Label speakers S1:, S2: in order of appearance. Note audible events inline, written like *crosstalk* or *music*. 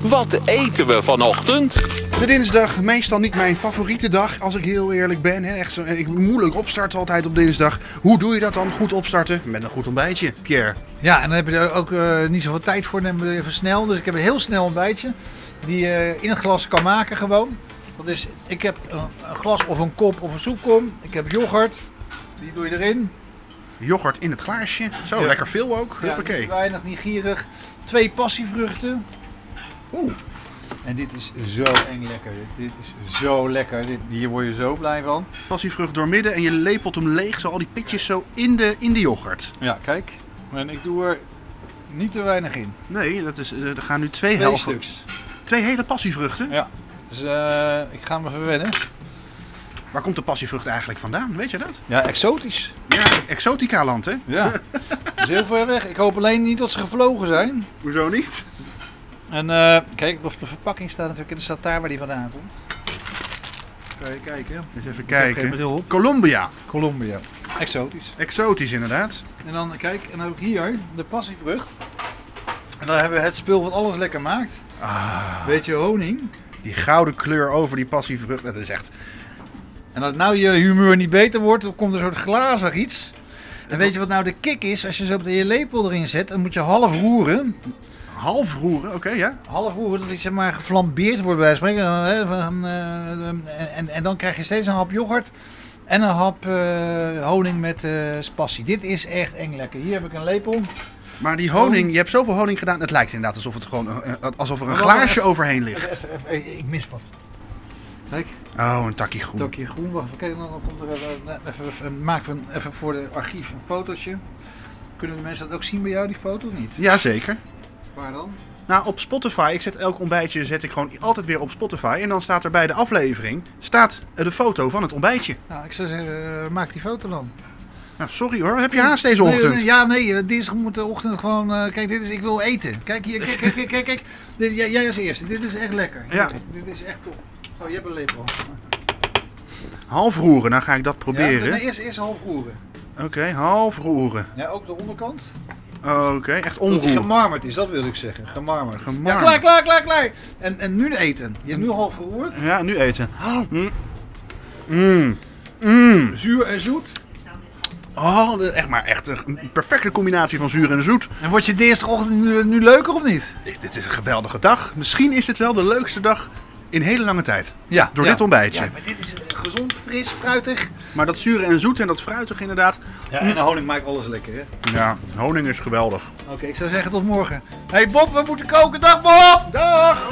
S1: Wat eten we vanochtend?
S2: De dinsdag, meestal niet mijn favoriete dag, als ik heel eerlijk ben. Hè. Echt zo, eh, ik moeilijk opstarten altijd op dinsdag. Hoe doe je dat dan? Goed opstarten met een goed ontbijtje, Pierre.
S3: Ja, en dan heb je er ook eh, niet zoveel tijd voor, dan even snel. Dus ik heb een heel snel ontbijtje die je in een glas kan maken gewoon. Dat is, ik heb een, een glas of een kop of een soepkom. Ik heb yoghurt, die doe je erin.
S2: Yoghurt in het glaasje. Zo,
S3: Ja.
S2: lekker veel ook.
S3: Ja,
S2: Huppakee.
S3: niet weinig, niet gierig. Twee passievruchten. Oeh. En dit is zo eng lekker. Dit, dit is zo lekker. Dit, hier word je zo blij van.
S2: Passievrucht doormidden en je lepelt hem leeg, zo al die pitjes zo in de, in de yoghurt.
S3: Ja, kijk. En ik doe er niet te weinig in.
S2: Nee, dat is, eh, er gaan nu twee,
S3: Twee
S2: helgen-
S3: stuks.
S2: Twee hele passievruchten.
S3: Ja. Dus eh, ik ga me verwennen.
S2: Waar komt de passievrucht eigenlijk vandaan? Weet je dat?
S3: Ja, exotisch.
S2: Ja, exotica land, hè? *laughs*
S3: Ja, dat is heel ver weg. Ik hoop alleen niet dat ze gevlogen zijn.
S2: Hoezo niet?
S3: En eh, kijk, op de verpakking staat natuurlijk, en er staat daar waar die vandaan komt. Kan je kijken.
S2: Eens even
S3: Ik heb geen
S2: kijken.
S3: bril op.
S2: Colombia.
S3: Colombia. Exotisch.
S2: Exotisch inderdaad.
S3: En dan kijk, en dan heb ik hier de passievrucht. En dan hebben we het spul wat alles lekker maakt.
S2: Ah,
S3: Beetje honing.
S2: die gouden kleur over die passievrucht. Dat is echt...
S3: En als nou je humeur niet beter wordt, dan komt er een soort glazig iets. En weet je wat nou de kick is? Als je zo op de je lepel erin zet, dan moet je half roeren.
S2: Half roeren, oké ja.
S3: half uur dat ik zeg maar geflambeerd wordt bij wijze van spreken. hè, van, eh, en, en, en dan krijg je steeds een hap yoghurt en een hap eh, honing met eh spassie. Dit is echt eng lekker. Hier heb ik een lepel.
S2: Maar die honing, je hebt zoveel honing gedaan. Het lijkt inderdaad alsof, het gewoon, eh, eh, alsof er een
S3: Maar
S2: glaasje overheen ligt.
S3: Even, even, eh, ik mis wat. Kijk,
S2: Oh, een takkie groen.
S3: takje groen. Wacht even kijken, dan komt er even, eh, even, even- maken we een- even voor de archief een fotootje. Kunnen de mensen dat ook zien bij jou, die foto of niet?
S2: Jazeker.
S3: Waar dan?
S2: Nou, op Spotify, ik zet elk ontbijtje zet ik gewoon altijd weer op Spotify. En dan staat er bij de aflevering staat eh, de foto van het ontbijtje.
S3: Nou, ik zou zeggen, eh, maak die foto dan.
S2: Nou, sorry hoor, heb je haast deze
S3: Nee,
S2: ochtend?
S3: nee, ja, nee, eh, dinsdag moet de ochtend gewoon. eh, kijk, dit is, ik wil eten. Kijk hier, kijk, kijk, kijk, kijk. kijk. Dit, jij, jij als eerste, dit is echt lekker.
S2: Ja.
S3: Dit is echt top. Oh, je hebt een lepel.
S2: Half roeren, nou ga ik dat proberen.
S3: Ja, nee, eerst, eerst half roeren.
S2: Oké, half roeren.
S3: Ja, ook de onderkant.
S2: Oké, echt
S3: Dat die
S2: omroeren.
S3: gemarmerd is, dat wil ik zeggen. Gemarmerd.
S2: Gemarmerd.
S3: Ja, klaar, klaar, klaar, klaar. En, en nu eten. Je hebt nu half geroerd.
S2: Ja, nu eten. Mm. Mm. Mm.
S3: Zuur en zoet.
S2: Oh, de- echt maar echt een een perfecte combinatie van zuur en zoet.
S3: En wordt je dinsdagochtend nu, nu leuker of niet?
S2: Dit, dit is een geweldige dag. Misschien is dit wel de leukste dag in hele lange tijd.
S3: Ja.
S2: Door
S3: ja.
S2: dit ontbijtje.
S3: Ja, maar dit is eh, gezond, fris, fruitig. Mm.
S2: Maar dat zure en zoet en dat fruitig inderdaad.
S3: Ja, en de honing maakt alles lekker, hè?
S2: Ja, honing is geweldig.
S3: Oké, ik zou zeggen tot morgen. hey Bob, we moeten koken. Dag Bob! Dag!